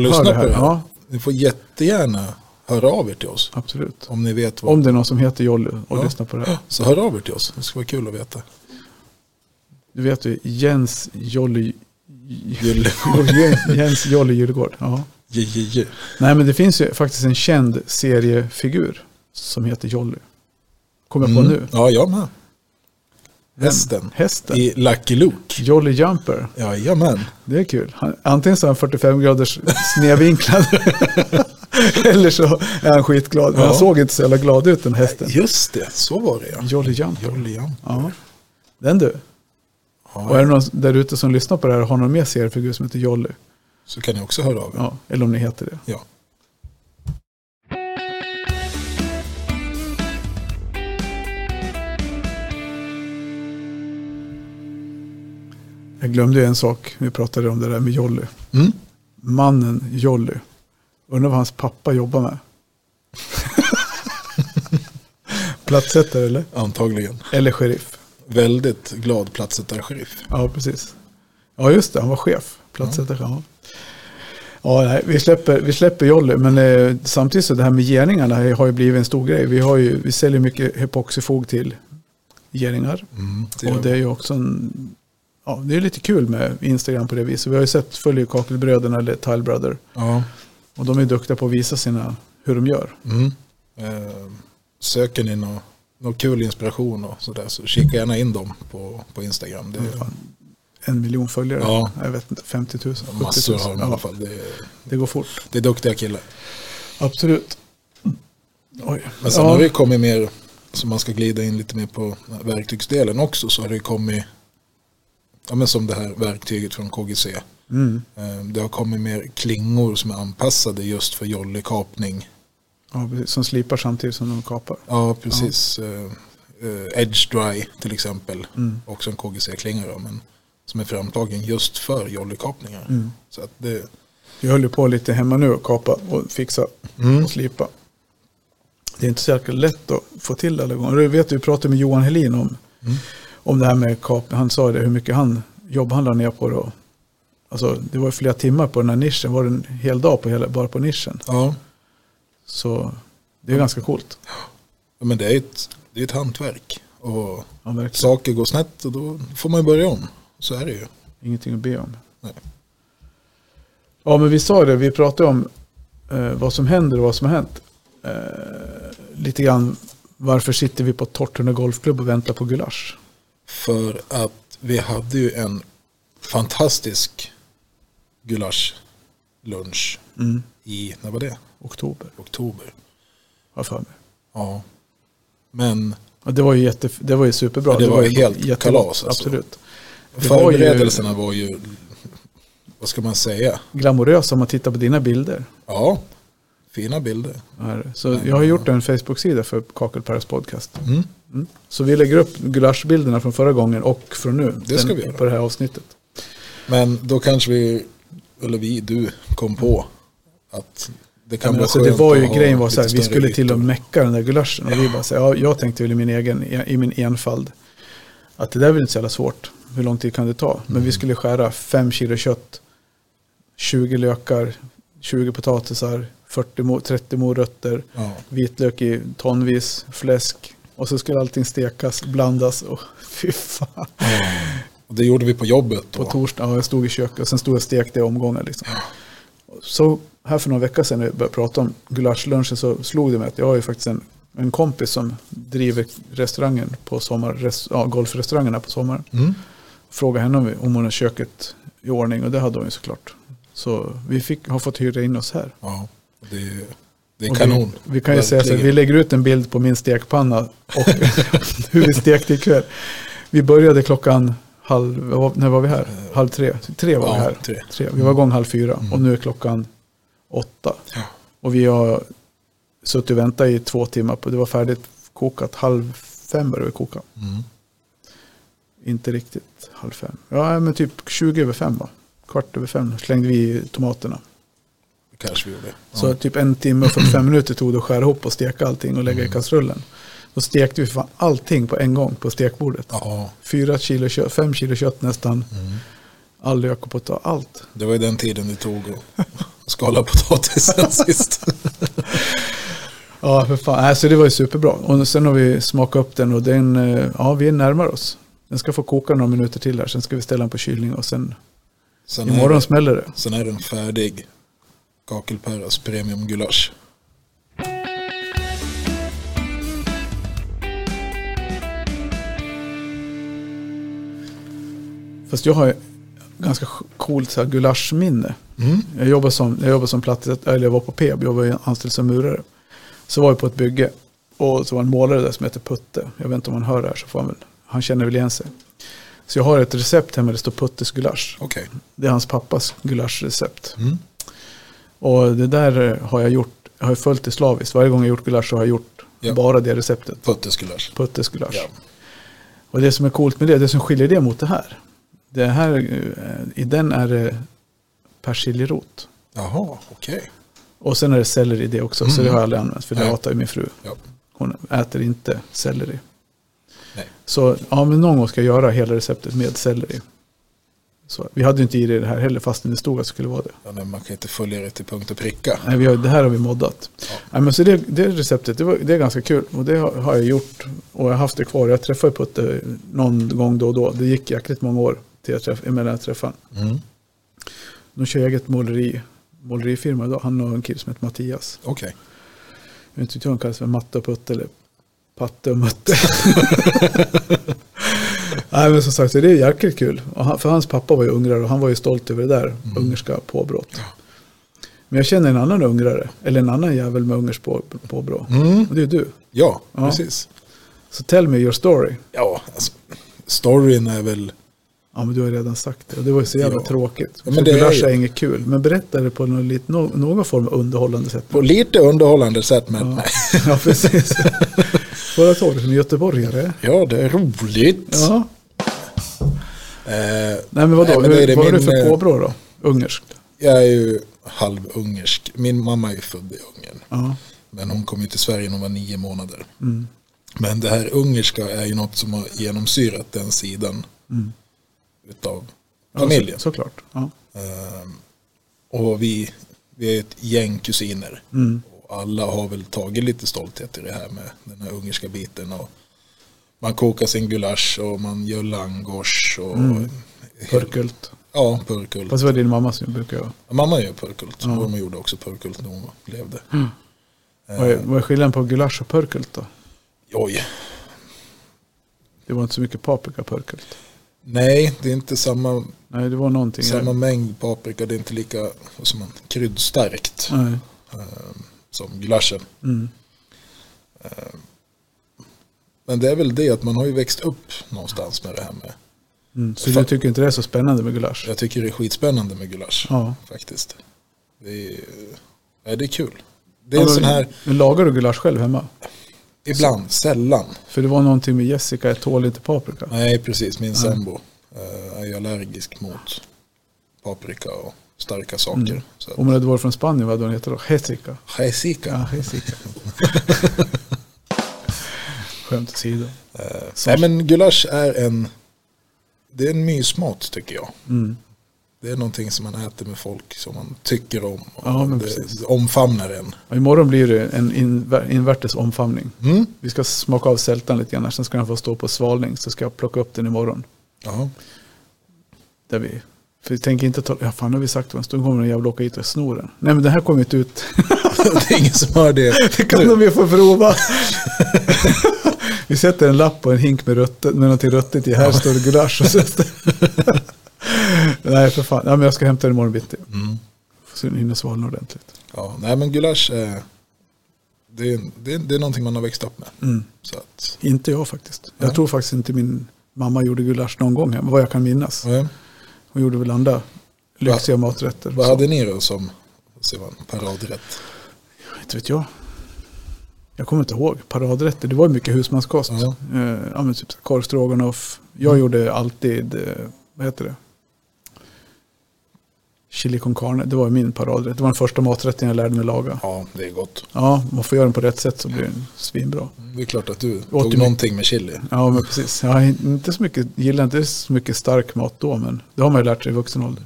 [SPEAKER 1] Hör
[SPEAKER 2] lyssnar
[SPEAKER 1] det
[SPEAKER 2] på
[SPEAKER 1] här.
[SPEAKER 2] det här,
[SPEAKER 1] Ja,
[SPEAKER 2] ni får jättegärna höra av er till oss.
[SPEAKER 1] absolut.
[SPEAKER 2] Om ni vet vad
[SPEAKER 1] Om det är någon som heter Jolly och
[SPEAKER 2] Ja.
[SPEAKER 1] lyssnar på det här.
[SPEAKER 2] Så hör av er till oss, det skulle vara kul att veta.
[SPEAKER 1] Du vet ju Jens Jolly...
[SPEAKER 2] Jolly.
[SPEAKER 1] <laughs> Jens Jolly Djurgård. Ja.
[SPEAKER 2] Je, je, je.
[SPEAKER 1] Nej men det finns ju faktiskt en känd seriefigur som heter Jolly. Kommer jag på nu.
[SPEAKER 2] Mm. Ja, jag med.
[SPEAKER 1] Vem?
[SPEAKER 2] Hästen.
[SPEAKER 1] Hästen.
[SPEAKER 2] I Lucky Luke.
[SPEAKER 1] Jolly Jumper.
[SPEAKER 2] Jajamän.
[SPEAKER 1] Det är kul. Han, antingen så är han 45 graders snedvinklad. <laughs> eller så är han skitglad. Men
[SPEAKER 2] Ja.
[SPEAKER 1] han såg inte så jävla glad ut den hästen.
[SPEAKER 2] Just det, så var det ja.
[SPEAKER 1] Jolly Jumper.
[SPEAKER 2] Jolly Jump.
[SPEAKER 1] Ja. Den du. Och är
[SPEAKER 2] Ja,
[SPEAKER 1] det någon där ute som lyssnar på det här och har någon mer seriefigur som heter Jolly?
[SPEAKER 2] så kan ni också höra av er.
[SPEAKER 1] Ja, eller om ni heter det.
[SPEAKER 2] Ja.
[SPEAKER 1] Jag glömde ju en sak. Vi pratade om det där med Jolly.
[SPEAKER 2] Mm.
[SPEAKER 1] Mannen Jolly. Undrar vad hans pappa jobbar med. <laughs> Plattsättare eller?
[SPEAKER 2] Antagligen.
[SPEAKER 1] Eller sheriff.
[SPEAKER 2] Väldigt glad platssättarsheriff.
[SPEAKER 1] Ja, precis. Ja, just det. Han var chef. Plattsättare. Ja. Ja, nej, vi, släpper, vi släpper Jolly, men eh, samtidigt så det här med geningarna har ju- har ju blivit en stor grej. Vi, har ju, vi säljer mycket epoxifog till geningar.
[SPEAKER 2] Mm, det
[SPEAKER 1] och
[SPEAKER 2] gör
[SPEAKER 1] det är ju också en, ja, det är lite kul med Instagram på det viset. Vi har ju sett, följer ju Kakelbröderna eller Tile Brother.
[SPEAKER 2] Ja.
[SPEAKER 1] Och de är duktiga på att visa sina, hur de gör.
[SPEAKER 2] Mm. Eh, söker ni någon, någon kul inspiration och sådär så kika gärna in dem på, på Instagram. Det är
[SPEAKER 1] En miljon följare.
[SPEAKER 2] Ja.
[SPEAKER 1] Jag vet inte, 50 000, 70 000.
[SPEAKER 2] massor av dem i alla
[SPEAKER 1] ja,
[SPEAKER 2] fall. Det är,
[SPEAKER 1] det går fort.
[SPEAKER 2] det är duktiga killar.
[SPEAKER 1] Absolut. Oj.
[SPEAKER 2] Men sen
[SPEAKER 1] ja,
[SPEAKER 2] har det ju kommit mer, så man ska glida in lite mer på verktygsdelen också, så har det ju kommit, ja men som det här verktyget från KGC.
[SPEAKER 1] mm,
[SPEAKER 2] Eh, Det har kommit mer klingor som är anpassade just för jollekapning.
[SPEAKER 1] ja, precis, som slipar samtidigt som de kapar.
[SPEAKER 2] Ja, precis. Eh, eh, Edge Dry till exempel,
[SPEAKER 1] Mm.
[SPEAKER 2] också en KGC-klinga då, men som är framtagen just för jollekapningar.
[SPEAKER 1] Mm.
[SPEAKER 2] Så att det,
[SPEAKER 1] Jag höll ju på lite hemma nu och kapa och fixa
[SPEAKER 2] Mm.
[SPEAKER 1] och slipa. Det är inte så jäkla lätt att få till alla gånger. Du vet, vi pratade med Johan Helin om, om det här med kap. Han sa det, hur mycket han jobbade han la ner på det. och- Alltså, det var ju flera timmar på den här nischen. Var det en hel dag på hela, bara på nischen.
[SPEAKER 2] ja,
[SPEAKER 1] Så det är ganska coolt.
[SPEAKER 2] men det är ett, det är ett hantverk. Och
[SPEAKER 1] Ja, verkligen.
[SPEAKER 2] saker går snett och då får man ju börja om. Så är det ju.
[SPEAKER 1] Ingenting att be om.
[SPEAKER 2] Nej.
[SPEAKER 1] Ja, men vi sa det, vi pratade om eh, vad som händer och vad som har hänt. Eh, lite grann varför sitter vi på Tortuna Golfklubb och väntar på gulasch?
[SPEAKER 2] För att vi hade ju en fantastisk gulaschlunch
[SPEAKER 1] Mm.
[SPEAKER 2] i, när var det?
[SPEAKER 1] Oktober,
[SPEAKER 2] Oktober.
[SPEAKER 1] har jag för mig.
[SPEAKER 2] Ja. Men
[SPEAKER 1] Ja, det, var ju jätte, det var ju superbra.
[SPEAKER 2] Ja, det var
[SPEAKER 1] ju
[SPEAKER 2] helt
[SPEAKER 1] jättegott,
[SPEAKER 2] kalas, alltså.
[SPEAKER 1] Absolut. Det var ju-
[SPEAKER 2] förberedelserna var ju, vad ska man säga?
[SPEAKER 1] Glamorös om man tittar på dina bilder.
[SPEAKER 2] Ja, fina bilder.
[SPEAKER 1] Här. Så jag har gjort en Facebook-sida för Kakelparas podcast.
[SPEAKER 2] Mm.
[SPEAKER 1] Mm. Så vi lägger upp gulaschbilderna från förra gången och från nu.
[SPEAKER 2] Det ska
[SPEAKER 1] Den-
[SPEAKER 2] vi göra.
[SPEAKER 1] På det här avsnittet.
[SPEAKER 2] Men då kanske vi, eller vi, du kom på att det kan
[SPEAKER 1] Men
[SPEAKER 2] vara
[SPEAKER 1] alltså, det
[SPEAKER 2] skönt
[SPEAKER 1] var ju
[SPEAKER 2] att ha
[SPEAKER 1] grejen var så här,
[SPEAKER 2] lite
[SPEAKER 1] vi
[SPEAKER 2] större
[SPEAKER 1] skulle till och
[SPEAKER 2] ytor.
[SPEAKER 1] med mecka den där gulaschen. Och vi bara så här, ja, jag tänkte väl i min egen, i min enfald, att det där är väl inte så jävla svårt. Hur lång tid kan det ta? Men
[SPEAKER 2] Mm.
[SPEAKER 1] vi skulle skära 5 kilo kött, 20 lökar, 20 potatisar, 40, mo- 30 morötter,
[SPEAKER 2] Ja.
[SPEAKER 1] vitlök i tonvis, fläsk. Och så skulle allting stekas, blandas och <laughs> fy fan.
[SPEAKER 2] Och det gjorde vi på jobbet då.
[SPEAKER 1] På torsdag, ja, jag stod i köket och sen stod jag och stekte i omgångar. Liksom. Så här för några veckor sedan när vi började prata om gulaschlunchen så slog det mig att jag har ju faktiskt en, en kompis som driver restaurangen på sommar, res, ja, golfrestaurangerna på sommaren.
[SPEAKER 2] Mm.
[SPEAKER 1] Frågade henne om, vi, om hon har köket i ordning och det hade hon ju såklart. Så vi fick, har fått hyra in oss här.
[SPEAKER 2] Ja, det är, det är
[SPEAKER 1] Och
[SPEAKER 2] kanon.
[SPEAKER 1] Vi, vi kan ju säga så här,
[SPEAKER 2] Verkligen.
[SPEAKER 1] vi lägger ut en bild på min stekpanna och <laughs> hur vi stekte ikväll. Vi började klockan halv, vad- när var vi här? Halv tre? Tre var vi
[SPEAKER 2] Ja,
[SPEAKER 1] här.
[SPEAKER 2] tre. Mm.
[SPEAKER 1] Vi var igång halv fyra och nu är klockan åtta. Och vi har suttit och väntat i två timmar på, det var färdigt kokat, halv fem började vi koka.
[SPEAKER 2] Mm.
[SPEAKER 1] Inte riktigt halv fem. Ja, men typ 20 över fem va? Kvart över fem slängde vi i tomaterna.
[SPEAKER 2] Det kanske vi gjorde.
[SPEAKER 1] Så typ en timme och
[SPEAKER 2] <clears throat>
[SPEAKER 1] 45 minuter tog det att skära ihop och steka allting och lägga
[SPEAKER 2] Mm.
[SPEAKER 1] i kastrullen. Då stekte vi fan allting på en gång på stekbordet.
[SPEAKER 2] Ja, Mm.
[SPEAKER 1] Fyra kilo kött, fem kilo kött nästan. All lök och potatis, allt.
[SPEAKER 2] det var ju den tiden det tog att skala potatisen <laughs> sist.
[SPEAKER 1] Ja, för fan. Äh, så det var ju superbra. Och sen har vi smakat upp den och den, eh, ja vi närmar oss. Den ska få koka några minuter till här, sen ska vi ställa den på kylning och sen
[SPEAKER 2] Sen är,
[SPEAKER 1] imorgon smäller det.
[SPEAKER 2] sen är den färdig. Kakelpäras premiumgulasch.
[SPEAKER 1] Fast jag har ett ganska coolt så här gulaschminne.
[SPEAKER 2] Mm.
[SPEAKER 1] Jag jobbade som, jag jobbade som platt, eller jag var på PEB, jag var ju anställd som murare. Så var jag på ett bygge och så var en målare där som heter Putte. Jag vet inte om han hör det här så får han väl, han känner väl igen sig. Så jag har ett recept hemma där det står Puttes gulasch.
[SPEAKER 2] Okej.
[SPEAKER 1] Det är hans pappas gulaschrecept.
[SPEAKER 2] Mm.
[SPEAKER 1] Och det där eh, har jag gjort, jag har ju följt det slaviskt. Varje gång jag gjort gulasch så har jag gjort
[SPEAKER 2] Ja.
[SPEAKER 1] bara det receptet.
[SPEAKER 2] Puttesgulasch.
[SPEAKER 1] Puttes gulasch.
[SPEAKER 2] Ja.
[SPEAKER 1] Och det som är coolt med det, det som skiljer det mot det här, Det här, eh, I den är det persiljerot.
[SPEAKER 2] Jaha, okej.
[SPEAKER 1] Och sen är det selleri i det också. Så
[SPEAKER 2] Mm.
[SPEAKER 1] det har jag aldrig använt. För det
[SPEAKER 2] Nej.
[SPEAKER 1] hatar ju min fru.
[SPEAKER 2] Ja.
[SPEAKER 1] Hon äter inte selleri.
[SPEAKER 2] Nej.
[SPEAKER 1] Så ja, men någon gång ska jag göra hela receptet med selleri. Så, vi hade ju inte i det här heller fastän det stod att det skulle vara det.
[SPEAKER 2] Ja, nej, man kan inte följa det till punkt och pricka.
[SPEAKER 1] Nej, vi har, det här har vi moddat.
[SPEAKER 2] Ja.
[SPEAKER 1] Nej, men så det, det receptet, det, var, det är ganska kul. Och det har, har jag gjort. Och jag har haft det kvar. Jag träffar ju Putte någon gång då och då. Det gick jäkligt många år till jag träff, emellan jag träffade honom.
[SPEAKER 2] Mm.
[SPEAKER 1] De kör eget måleri, målerifirma idag. Han och en kille som heter Mattias.
[SPEAKER 2] Okej.
[SPEAKER 1] Jag vet inte om han kallas för Matte och Putte eller Patte och
[SPEAKER 2] <laughs>
[SPEAKER 1] Mutte. Nej men som sagt, så det är jäkligt kul. Och han, för hans pappa var ju ungrare och han var ju stolt över det där
[SPEAKER 2] Mm.
[SPEAKER 1] ungerska påbrott. Men jag känner en annan ungrare, eller en annan jävel med ungerskt på, påbrå.
[SPEAKER 2] Mm.
[SPEAKER 1] Och det är du.
[SPEAKER 2] Ja,
[SPEAKER 1] Ja.
[SPEAKER 2] precis.
[SPEAKER 1] Så tell me your story.
[SPEAKER 2] Ja, alltså, storyn är väl...
[SPEAKER 1] Ja men du har redan sagt det och det var ju så jävla
[SPEAKER 2] Ja.
[SPEAKER 1] tråkigt.
[SPEAKER 2] Ja,
[SPEAKER 1] Ja,
[SPEAKER 2] men
[SPEAKER 1] men
[SPEAKER 2] det är
[SPEAKER 1] det är
[SPEAKER 2] ju-
[SPEAKER 1] inget kul. Men berätta det på någon, lite- nå- någon form av underhållande sätt.
[SPEAKER 2] På lite underhållande sätt, men
[SPEAKER 1] Ja,
[SPEAKER 2] nej.
[SPEAKER 1] <laughs> ja precis. Våra tåg som göteborgare.
[SPEAKER 2] <laughs> Ja, det är roligt.
[SPEAKER 1] Ja.
[SPEAKER 2] Eh,
[SPEAKER 1] Nej men vadå,
[SPEAKER 2] Nej, men
[SPEAKER 1] Hur-
[SPEAKER 2] det är det
[SPEAKER 1] vad är det
[SPEAKER 2] min,
[SPEAKER 1] för
[SPEAKER 2] eh,
[SPEAKER 1] påbrå då? Ungerskt?
[SPEAKER 2] jag är ju halvungersk. Min mamma är ju född i Ungern.
[SPEAKER 1] Ja.
[SPEAKER 2] Men hon kom ju till Sverige när hon var nio månader.
[SPEAKER 1] Mm.
[SPEAKER 2] Men det här ungerska är ju något som har genomsyrat den sidan utav familjen.
[SPEAKER 1] Ja, så, såklart. Ja.
[SPEAKER 2] Ehm, och vi, vi är ett gäng kusiner.
[SPEAKER 1] Mm.
[SPEAKER 2] Och alla har väl tagit lite stolthet i det här med den här ungerska biten. Och man kokar sin gulasch och man gör langosch. Och,
[SPEAKER 1] Mm. Purkult.
[SPEAKER 2] Ja, purkult.
[SPEAKER 1] Fast det var din mamma som brukar göra.
[SPEAKER 2] Mamma gör purkult. Mormor gjorde också purkult när hon levde.
[SPEAKER 1] Mm.
[SPEAKER 2] Eh,
[SPEAKER 1] Vad är, vad är skillnaden på gulasch och purkult då?
[SPEAKER 2] Oj.
[SPEAKER 1] Det var inte så mycket paprika purkult.
[SPEAKER 2] Nej, det är inte samma,
[SPEAKER 1] Nej, det var någonting.
[SPEAKER 2] samma mängd paprika. Det är inte lika vad som man, kryddstarkt
[SPEAKER 1] Nej.
[SPEAKER 2] som gulaschen.
[SPEAKER 1] Mm.
[SPEAKER 2] Men det är väl det att man har ju växt upp någonstans med det här med.
[SPEAKER 1] Mm. Så
[SPEAKER 2] Fan.
[SPEAKER 1] du tycker inte det är så spännande med gulasch?
[SPEAKER 2] Jag tycker det är skitspännande med gulasch.
[SPEAKER 1] Ja.
[SPEAKER 2] Faktiskt. Det är, ja, det är kul. Det är
[SPEAKER 1] Ja,
[SPEAKER 2] en
[SPEAKER 1] men-
[SPEAKER 2] sån här,
[SPEAKER 1] Men lagar du gulasch själv hemma?
[SPEAKER 2] ibland, sällan.
[SPEAKER 1] För det var någonting med Jessica, jag tål inte paprika.
[SPEAKER 2] Nej, precis. Min sambo eh, är ju allergisk mot paprika och starka saker.
[SPEAKER 1] Mm.
[SPEAKER 2] Så att,
[SPEAKER 1] Om det var från Spanien, vad hade hon heter då? Jessica.
[SPEAKER 2] Jessica.
[SPEAKER 1] Ja,
[SPEAKER 2] <laughs>
[SPEAKER 1] Jessica. Skämt åsido.
[SPEAKER 2] Eh, nej men gulasch är en, det är en mysmat tycker jag.
[SPEAKER 1] Mm.
[SPEAKER 2] Det är någonting som man äter med folk som man tycker om. Och
[SPEAKER 1] Ja, men precis.
[SPEAKER 2] det omfamnar en.
[SPEAKER 1] Ja, Imorgon blir det en inver- invärtes omfamning.
[SPEAKER 2] Mm.
[SPEAKER 1] Vi ska smaka av sältan lite grann, sen ska den få stå på svalning. Så ska jag plocka upp den imorgon.
[SPEAKER 2] Ja. <laughs>
[SPEAKER 1] Där vi, för vi tänker inte ta, ja fan har vi sagt det, då kommer den jävla åka hit och sno den. Nej men den här kommer inte ut. <laughs>
[SPEAKER 2] det är ingen som hör det.
[SPEAKER 1] Det kan de ju få prova. <laughs> vi sätter en lapp på en hink med, rötter, med någonting röttigt i. Här står det gulasch. Och så Nej för fan, ja, men jag ska hämta den imorgon bitti.
[SPEAKER 2] Mm.
[SPEAKER 1] Så den hinner svalna ordentligt.
[SPEAKER 2] Ja, nej men gulasch är, det är, det, är, det är någonting man har växt upp med.
[SPEAKER 1] Mm.
[SPEAKER 2] Så att,
[SPEAKER 1] Inte jag faktiskt. Jag
[SPEAKER 2] Nej.
[SPEAKER 1] tror faktiskt inte min mamma gjorde gulasch någon gång, vad jag kan minnas.
[SPEAKER 2] ja.
[SPEAKER 1] Hon gjorde väl andra lyxiga maträtter.
[SPEAKER 2] Vad
[SPEAKER 1] Så,
[SPEAKER 2] hade ni då som se vad, paradrätt?
[SPEAKER 1] Inte vet jag. Jag kommer inte ihåg. Paradrätter, det var ju mycket husmanskost.
[SPEAKER 2] Ja.
[SPEAKER 1] Eh, ja, men typ så här korv stroganoff. Jag gjorde alltid, eh, vad heter det? Chili con carne, det var ju min paradrätt. Det var den första maträtten jag lärde mig laga.
[SPEAKER 2] Ja, det är gott.
[SPEAKER 1] Ja, man får göra den på rätt sätt så blir den svinbra.
[SPEAKER 2] Det är klart att du
[SPEAKER 1] Åt
[SPEAKER 2] tog
[SPEAKER 1] du
[SPEAKER 2] någonting med chili.
[SPEAKER 1] Ja, men precis. Jag har inte så mycket, gillar inte så mycket stark mat då, men det har man ju lärt sig i vuxen ålder.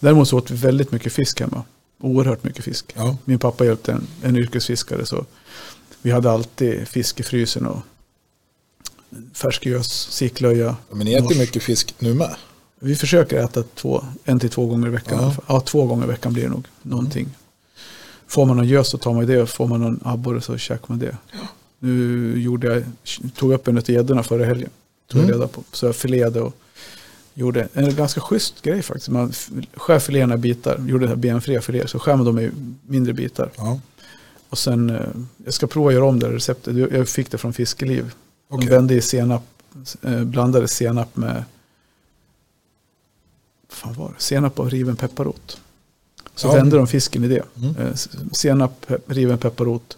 [SPEAKER 1] Däremot så åt vi väldigt mycket fisk hemma. Oerhört mycket fisk.
[SPEAKER 2] Ja.
[SPEAKER 1] Min pappa hjälpte en, en yrkesfiskare så vi hade alltid fisk i frysen och färsk gös, sicklöja.
[SPEAKER 2] Men ni äter
[SPEAKER 1] norsk.
[SPEAKER 2] mycket fisk nu med.
[SPEAKER 1] Vi försöker äta två, en till två gånger i veckan.
[SPEAKER 2] Ja.
[SPEAKER 1] i alla fall. Ja, två gånger i veckan blir det nog någonting. Får man någon gös så tar man det och får man någon abborre så käkar man det. Nu gjorde jag, tog upp en av gäddorna förra helgen. Tog
[SPEAKER 2] Mm.
[SPEAKER 1] jag reda på. Så jag fileade och gjorde en ganska schysst grej faktiskt. Man f- skär filéerna i bitar, gjorde det här benfria filéer, så skär man dem i mindre bitar.
[SPEAKER 2] Ja.
[SPEAKER 1] Och sen, eh, jag ska prova att göra om det här receptet. Jag jag fick det från Fiskeliv.
[SPEAKER 2] Okej.
[SPEAKER 1] De vände i senap, eh, blandade senap med vad fan var det? senap och riven pepparrot. Så
[SPEAKER 2] Ja.
[SPEAKER 1] vände de fisken i det.
[SPEAKER 2] Mm.
[SPEAKER 1] Eh, s- Senap, pe- riven pepparrot,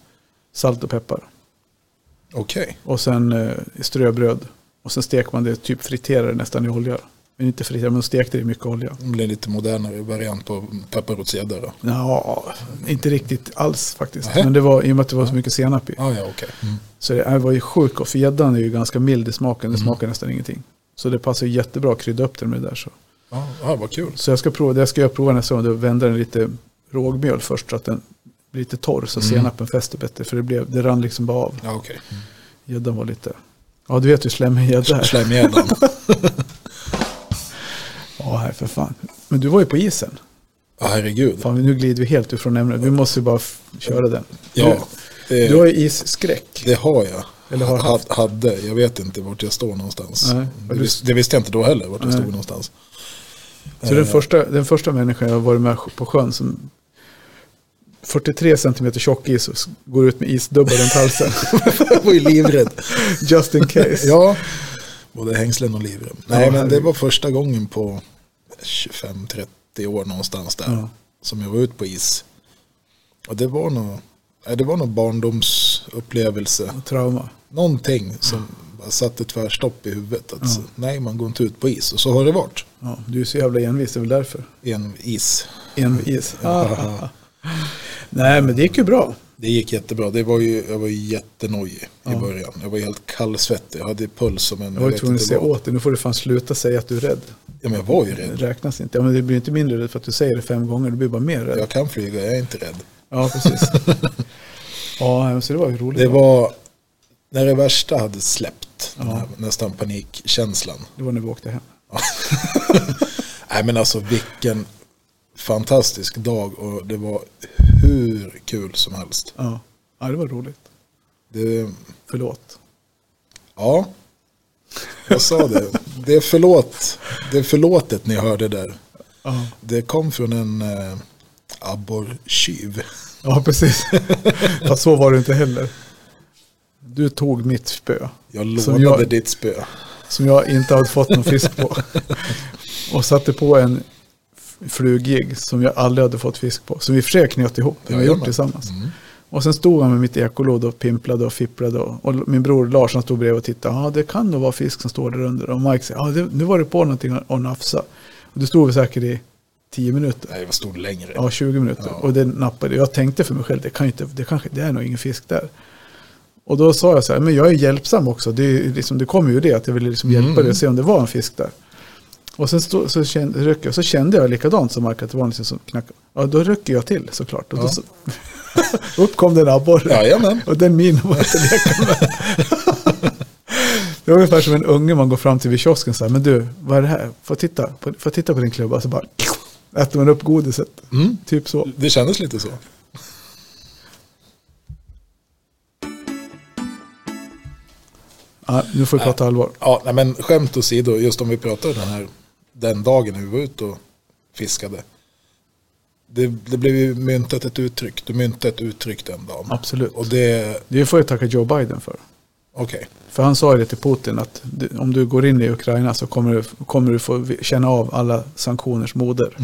[SPEAKER 1] salt och peppar.
[SPEAKER 2] Okej.
[SPEAKER 1] Och sen eh, ströbröd. Och sen stek man det, typ friterade nästan i olja. Men inte frita, men stekte i mycket olja.
[SPEAKER 2] Det blir lite modernare variant på pepparrotsgädda då.
[SPEAKER 1] Ja, inte riktigt alls faktiskt.
[SPEAKER 2] Nähä.
[SPEAKER 1] Men det var i och med att det var så mycket senap i.
[SPEAKER 2] Ah, ja, okej. Mm.
[SPEAKER 1] Så det här var ju sjukt gott. För gäddan är ju ganska mild i smaken. Det smakar nästan ingenting. Så det passar ju jättebra att krydda upp den med det där. Så,
[SPEAKER 2] Ah, ah, vad kul.
[SPEAKER 1] så jag ska prova, det ska jag prova nästa gång. Då vänder den lite rågmjöl först så att den blir lite torr. Så senapen fäster bättre. För det, blev, det rann liksom bara av.
[SPEAKER 2] Ja, okej.
[SPEAKER 1] Gäddan var lite... Ja, du vet hur slemmig gädda är. <laughs>
[SPEAKER 2] Slemgäddan.
[SPEAKER 1] Ja, här för fan. Men du var ju på isen.
[SPEAKER 2] Ja, herregud.
[SPEAKER 1] Fan, nu glider vi helt ifrån ämnet. Vi måste ju bara f- köra den.
[SPEAKER 2] Ja,
[SPEAKER 1] Du,
[SPEAKER 2] det,
[SPEAKER 1] du har ju isskräck.
[SPEAKER 2] det har jag.
[SPEAKER 1] Eller har
[SPEAKER 2] Ha-
[SPEAKER 1] haft.
[SPEAKER 2] Hade, jag vet inte vart jag står någonstans.
[SPEAKER 1] Nej.
[SPEAKER 2] Det, vis, det visste jag inte då heller, vart jag
[SPEAKER 1] <laughs>
[SPEAKER 2] stod någonstans.
[SPEAKER 1] Så
[SPEAKER 2] Eh.
[SPEAKER 1] den första, den första människan jag har varit med på sjön som 43 centimeter tjock is och s- går ut med isdubbar runt halsen. <laughs>
[SPEAKER 2] Jag var ju livrädd.
[SPEAKER 1] Just in case.
[SPEAKER 2] Ja, både hängslen och livrem. Nej,
[SPEAKER 1] Ja,
[SPEAKER 2] men det
[SPEAKER 1] herregud.
[SPEAKER 2] var första gången på 25-30 år någonstans där
[SPEAKER 1] Ja.
[SPEAKER 2] som jag var ute på is. Och det var nog, nej, det var nog barndomsupplevelse.
[SPEAKER 1] Trauma.
[SPEAKER 2] Någonting som bara satte tvärstopp i huvudet. Att, Nej, man går inte ut på is. Och så har det varit.
[SPEAKER 1] Ja, du är så jävla envis, det är väl därför.
[SPEAKER 2] En is.
[SPEAKER 1] Envis. Ah. <laughs> Nej, men det gick ju bra.
[SPEAKER 2] Det gick jättebra. Det var ju, jag var ju jättenojig i början. Jag var helt kallsvettig. Jag hade puls som en...
[SPEAKER 1] Jag var ju
[SPEAKER 2] vet
[SPEAKER 1] tvungen att
[SPEAKER 2] inte
[SPEAKER 1] säga
[SPEAKER 2] vad.
[SPEAKER 1] åt dig, nu får du fan sluta säga att du är rädd.
[SPEAKER 2] Ja, men jag var ju
[SPEAKER 1] Det
[SPEAKER 2] rädd.
[SPEAKER 1] räknas inte. Ja, men det blir inte mindre rädd för att du säger det fem gånger, du blir bara mer rädd.
[SPEAKER 2] Jag kan flyga, jag är inte rädd.
[SPEAKER 1] Ja, precis. ja, men så det var ju roligt.
[SPEAKER 2] Det var när det värsta hade släppt, den här, nästan panikkänslan.
[SPEAKER 1] det var när vi åkte hem.
[SPEAKER 2] Nej men alltså vilken fantastisk dag och det var hur kul som helst.
[SPEAKER 1] Ja, ja det var roligt.
[SPEAKER 2] Det,
[SPEAKER 1] Förlåt.
[SPEAKER 2] ja, jag sa det. Det är, förlåt, det är förlåtet ni hörde där.
[SPEAKER 1] Ja,
[SPEAKER 2] Det kom från en eh, abborrtjuv.
[SPEAKER 1] ja precis. Fast så var det inte heller. Du tog mitt spö.
[SPEAKER 2] Jag
[SPEAKER 1] Som
[SPEAKER 2] lånade
[SPEAKER 1] jag-
[SPEAKER 2] ditt spö.
[SPEAKER 1] Som jag inte hade fått någon fisk på. Och satte på en f- fluggig som jag aldrig hade fått fisk på. Som vi i och för sig knöt ihop. Vi har
[SPEAKER 2] Jajamän.
[SPEAKER 1] gjort tillsammans. Och sen stod han med mitt ekolod och pimplade och fipplade. Och, och min bror Lars han stod bredvid och tittade. Ja, ah, det kan nog vara fisk som står där under. Och Mike säger, ah, det, nu var det på någonting och nafsa. Och det stod vi säkert i tio minuter.
[SPEAKER 2] Nej, jag stod längre.
[SPEAKER 1] Ja, 20 minuter.
[SPEAKER 2] Ja.
[SPEAKER 1] Och det nappade. Jag tänkte för mig själv, det, kan ju inte, det, kanske, det är nog ingen fisk där. Och då sa jag så här, men jag är hjälpsam också. Det, är ju liksom, det kommer ju det att jag ville liksom hjälpa
[SPEAKER 2] Mm.
[SPEAKER 1] dig och se om det var en fisk där. Och sen stå, så kände, ryckte jag, så kände jag likadant som Mark, att det var någonting som knackade. Ja, då rycker jag till såklart. Och då
[SPEAKER 2] Ja.
[SPEAKER 1] så, <laughs> upp kom den abborre.
[SPEAKER 2] Jajamän.
[SPEAKER 1] Och den min var inte att leka med. Det var ungefär som en unge man går fram till vid kiosken så här, men du, vad är det här? Får jag titta på, får jag titta på din klubba? Så bara äter man upp godiset. Typ så.
[SPEAKER 2] Det kändes lite så.
[SPEAKER 1] Ja, nu får vi prata allvar.
[SPEAKER 2] Ja, nej, men skämt åsido, just om vi pratar den här den dagen vi var ute och fiskade. Det, det blev ju myntat ett uttryck. Du myntade ett uttryck den dagen.
[SPEAKER 1] Absolut.
[SPEAKER 2] Och det,
[SPEAKER 1] Det får jag tacka Joe Biden för.
[SPEAKER 2] okej.
[SPEAKER 1] För han sa ju det till Putin att du, om du går in i Ukraina så kommer du, kommer du få vi- känna av alla sanktioners moder.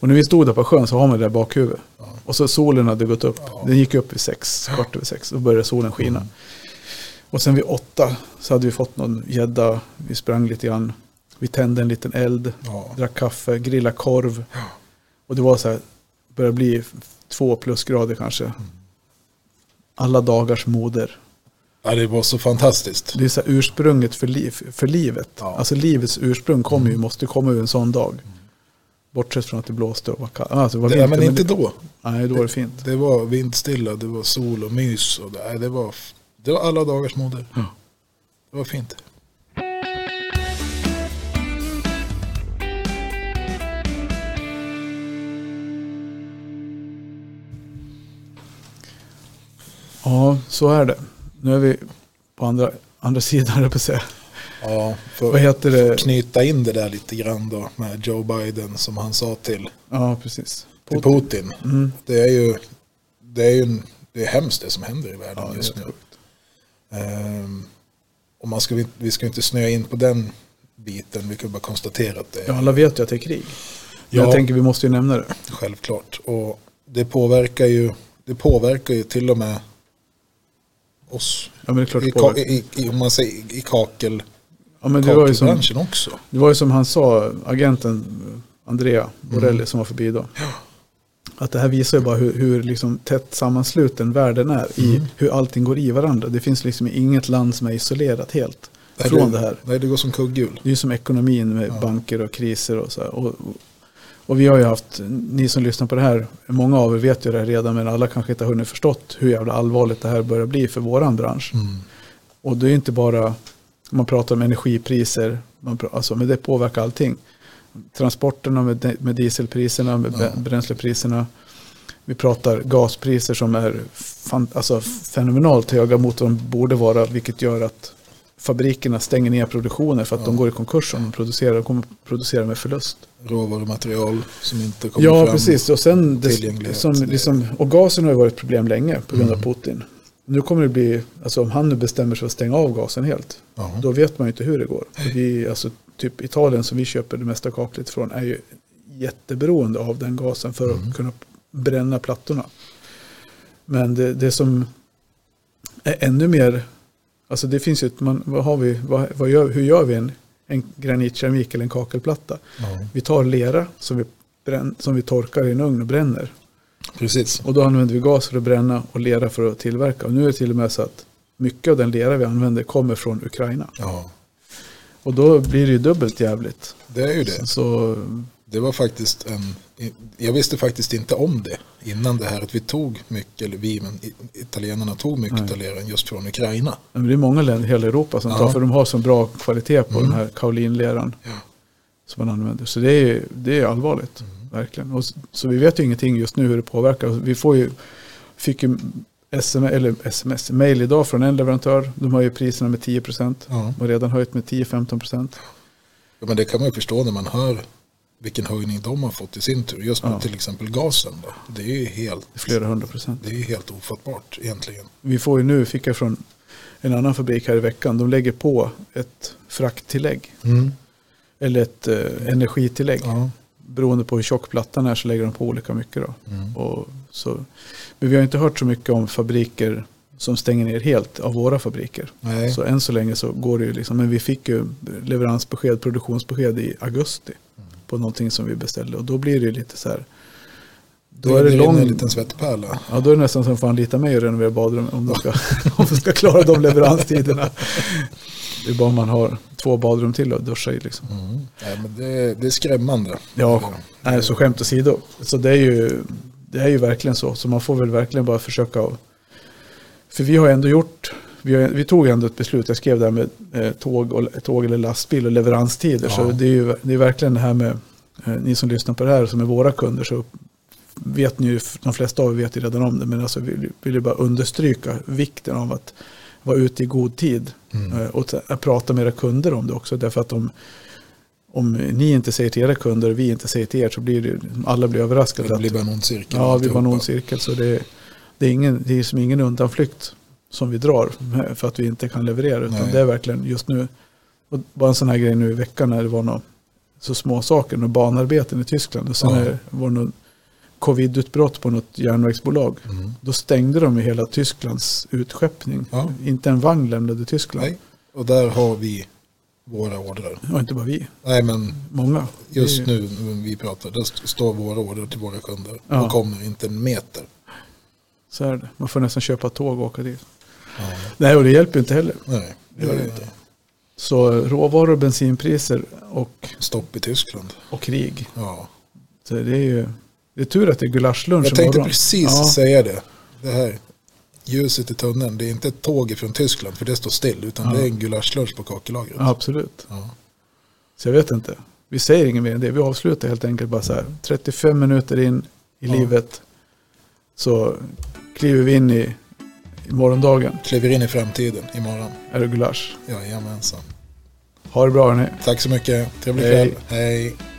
[SPEAKER 1] Och när vi stod där på sjön så har man det där bakhuvudet. Och så solen hade gått upp. Den gick upp vid sex, kvart över sex. Då började solen skina. Och sen vid åtta så hade vi fått någon gädda. Vi sprang lite grann. Vi tände en liten eld.
[SPEAKER 2] Ja.
[SPEAKER 1] Drack kaffe, grillade korv. Och det var så här, började bli två plusgrader kanske. Alla dagars moder.
[SPEAKER 2] Ja, det var så fantastiskt.
[SPEAKER 1] Det är så här ursprunget för, liv, för livet.
[SPEAKER 2] Ja. Mm.
[SPEAKER 1] Alltså livets ursprung kommer ju, måste komma ur en sån dag. Bortsett från att det blåste och var kallt. Alltså, det var
[SPEAKER 2] Det, ja,
[SPEAKER 1] vinter,
[SPEAKER 2] men inte
[SPEAKER 1] det-
[SPEAKER 2] då.
[SPEAKER 1] Nej, då var det fint.
[SPEAKER 2] Det var vindstilla, det var sol och mys. Och det, nej, det, var, det var alla dagars moder. Det var fint.
[SPEAKER 1] Ja, så är det. Nu är vi på andra, andra <laughs> sidan, höll jag på att säga.
[SPEAKER 2] Ja, för
[SPEAKER 1] Vad heter det?
[SPEAKER 2] knyta in det där lite grann då med Joe Biden som han sa till
[SPEAKER 1] Ja, precis.
[SPEAKER 2] till Putin. Mm. Det är ju, det är ju en, det är hemskt det som händer i världen
[SPEAKER 1] det är
[SPEAKER 2] just nu.
[SPEAKER 1] helt
[SPEAKER 2] Ehm, och man ska, vi- vi ska inte snöa in på den biten, vi kan bara konstatera att det är
[SPEAKER 1] Ja, alla vet ju att det är krig.
[SPEAKER 2] Ja.
[SPEAKER 1] Ja. Jag tänker vi måste ju nämna det.
[SPEAKER 2] självklart. Och det påverkar, ju, det påverkar ju till och med oss.
[SPEAKER 1] Ja, men det är klart
[SPEAKER 2] I,
[SPEAKER 1] det
[SPEAKER 2] ka,
[SPEAKER 1] påverkar.
[SPEAKER 2] i, i, om man säger i kakel,
[SPEAKER 1] Ja, men det, var ju som,
[SPEAKER 2] kakebranschen också.
[SPEAKER 1] det var ju som han sa, agenten eh,
[SPEAKER 2] Mm.
[SPEAKER 1] Andrea Borelli som var förbi då. Att det här visar ju bara hur, hur liksom tätt sammansluten världen är i hur allting går i varandra. Det finns liksom inget land som är isolerat helt
[SPEAKER 2] Nej,
[SPEAKER 1] från det här.
[SPEAKER 2] Nej, det går som kugghjul.
[SPEAKER 1] Det är ju som ekonomin med banker och kriser och så här. Och, och vi har ju haft, ni som lyssnar på det här, många av er vet ju det här redan men alla kanske inte har hunnit förstått hur jävla allvarligt det här börjar bli för våran bransch.
[SPEAKER 2] Mm.
[SPEAKER 1] Och det är ju inte bara, man pratar om energipriser, man, pra- alltså, men det påverkar allting. Transporterna med, de- med dieselpriserna, med br- bränslepriserna. Vi pratar gaspriser som är fan, alltså fenomenalt höga mot vad de borde vara, vilket gör att fabrikerna stänger ner produktioner för att de går i konkurs om de producerar. De kommer producera med förlust.
[SPEAKER 2] Råvarumaterial som inte kommer
[SPEAKER 1] Ja,
[SPEAKER 2] fram.
[SPEAKER 1] precis. Och, sen det,
[SPEAKER 2] tillgänglighet. Mm.
[SPEAKER 1] som, liksom, och gasen har ju varit ett problem länge på grund av Putin. Nu kommer det bli, alltså om han nu bestämmer sig för att stänga av gasen helt,
[SPEAKER 2] Ja.
[SPEAKER 1] då vet man ju inte hur det går. För vi, alltså, typ Italien som vi köper det mesta kaklet från är ju jätteberoende av den gasen för att kunna bränna plattorna. Men det, det som är ännu mer, alltså det finns ju ett, man, vad har vi, vad, vad gör, hur gör vi en, en granitkeramik eller en kakelplatta?
[SPEAKER 2] Ja,
[SPEAKER 1] Vi tar lera som vi, brän, som vi torkar i en ugn och bränner.
[SPEAKER 2] precis.
[SPEAKER 1] Och då använder vi gas för att bränna och lera för att tillverka. Och nu är det till och med så att mycket av den lera vi använder kommer från Ukraina.
[SPEAKER 2] Ja,
[SPEAKER 1] Och då blir det ju dubbelt jävligt.
[SPEAKER 2] det är ju det.
[SPEAKER 1] Så
[SPEAKER 2] Det var faktiskt en, jag visste faktiskt inte om det innan det här att vi tog mycket, eller vi, men i- italienarna tog mycket italienaren just från Ukraina.
[SPEAKER 1] men det är många länder i hela Europa som
[SPEAKER 2] Ja. Mm.
[SPEAKER 1] tar, för de har så bra kvalitet på den här kaulinleran
[SPEAKER 2] Ja.
[SPEAKER 1] som man använder. Så det är, ju- det är allvarligt,
[SPEAKER 2] Mm.
[SPEAKER 1] verkligen. Och, s- så vi vet ju ingenting just nu hur det påverkar. Och Vi får ju, fick ju sms, eller sms, mail idag från en leverantör. De har ju priserna med 10 procent.
[SPEAKER 2] Ja.
[SPEAKER 1] De har redan höjt med 10-15 procent.
[SPEAKER 2] Ja, men det kan man ju förstå när man hör vilken höjning de har fått i sin tur. Just med
[SPEAKER 1] Ja.
[SPEAKER 2] till exempel gasen. Då. Det är ju helt,
[SPEAKER 1] Flera hundra procent.
[SPEAKER 2] det är ju helt ofattbart egentligen.
[SPEAKER 1] Vi får ju nu, fick jag från en annan fabrik här i veckan, de lägger på ett frakttillägg. Eller ett eh, energitillägg.
[SPEAKER 2] Mm, Ja.
[SPEAKER 1] Beroende på hur tjock plattan är så lägger de på olika mycket. Då.
[SPEAKER 2] Mm.
[SPEAKER 1] Och så, men vi har inte hört så mycket om fabriker som stänger ner helt av våra fabriker.
[SPEAKER 2] Nej.
[SPEAKER 1] Så än så länge så går det ju liksom, men vi fick ju leveransbesked, produktionsbesked i augusti på någonting som vi beställde och då blir det ju lite så här. Då är det
[SPEAKER 2] rinner
[SPEAKER 1] lång,
[SPEAKER 2] en liten svettpärla.
[SPEAKER 1] Ja, då är det nästan som att fan lita mig och renovera badrum om de ska, <laughs> om de ska klara de <laughs> leveranstiderna. Det är bara om man har två badrum till att duscha i. Liksom.
[SPEAKER 2] Mm. Nej, men det, det är skrämmande.
[SPEAKER 1] Ja, nej, så skämt åsido. Så det är, ju, det är ju verkligen så. Så man får väl verkligen bara försöka. att- För vi har ändå gjort, vi, har, vi tog ändå ett beslut, jag skrev det här med eh, tåg, och, tåg eller lastbil och leveranstider. Så
[SPEAKER 2] Ja.
[SPEAKER 1] det är ju det är verkligen det här med, eh, ni som lyssnar på det här som är våra kunder, så vet ni ju, de flesta av er vet ju redan om det, men alltså vi vill- vill ju bara understryka vikten av att vara ute i god tid eh, och t- att prata med era kunder om det också. Därför att om, om ni inte säger till era kunder och vi inte säger till er så blir det, ju- alla blir överraskade.
[SPEAKER 2] Det
[SPEAKER 1] att-
[SPEAKER 2] blir bara en ond
[SPEAKER 1] Ja,
[SPEAKER 2] cirkel.
[SPEAKER 1] vi var en
[SPEAKER 2] alltihopa.
[SPEAKER 1] ond cirkel. Så det, det är ingen, det är som ingen undanflykt som vi drar för att vi inte kan leverera. Utan
[SPEAKER 2] Nej.
[SPEAKER 1] det är verkligen just nu, och bara en sån här grej nu i veckan när det var något, så små saker, några banarbeten i Tyskland och sen
[SPEAKER 2] Ja.
[SPEAKER 1] är- var det något covidutbrott på något järnvägsbolag.
[SPEAKER 2] Mm.
[SPEAKER 1] Då stängde de ju hela Tysklands utskeppning.
[SPEAKER 2] Ja.
[SPEAKER 1] Inte en vagn lämnade Tyskland.
[SPEAKER 2] Nej. Och där har vi våra order.
[SPEAKER 1] Och inte bara vi,
[SPEAKER 2] Nej, men
[SPEAKER 1] många.
[SPEAKER 2] Just
[SPEAKER 1] Det-
[SPEAKER 2] nu när vi pratar, där st- står våra order till våra kunder.
[SPEAKER 1] Ja.
[SPEAKER 2] De kommer inte en meter.
[SPEAKER 1] Så är det. Man får nästan köpa tåg och åka dit. Nej, och det hjälper ju inte heller.
[SPEAKER 2] Nej, det gör det inte.
[SPEAKER 1] Så råvaror, bensinpriser och,
[SPEAKER 2] Stopp i Tyskland.
[SPEAKER 1] och krig.
[SPEAKER 2] Ja.
[SPEAKER 1] Så det är ju det är tur att det är gulaschlunch
[SPEAKER 2] Jag tänkte
[SPEAKER 1] imorgon.
[SPEAKER 2] precis
[SPEAKER 1] ja,
[SPEAKER 2] säga det. Det här ljuset i tunneln, det är inte ett tåg från Tyskland för det står still. Utan det är en gulaschlunch på kakelagret.
[SPEAKER 1] ja, Absolut.
[SPEAKER 2] Ja.
[SPEAKER 1] Så jag vet inte. Vi säger inget mer än det. Vi avslutar helt enkelt bara så här. 35 minuter in i
[SPEAKER 2] Ja.
[SPEAKER 1] livet så kliver vi in i, i morgondagen.
[SPEAKER 2] Kliver in i framtiden imorgon.
[SPEAKER 1] Är det gulasch?
[SPEAKER 2] Jajamensan.
[SPEAKER 1] Ha det bra hörni.
[SPEAKER 2] Tack så mycket. Trevlig
[SPEAKER 1] Hej.
[SPEAKER 2] kväll. Hej.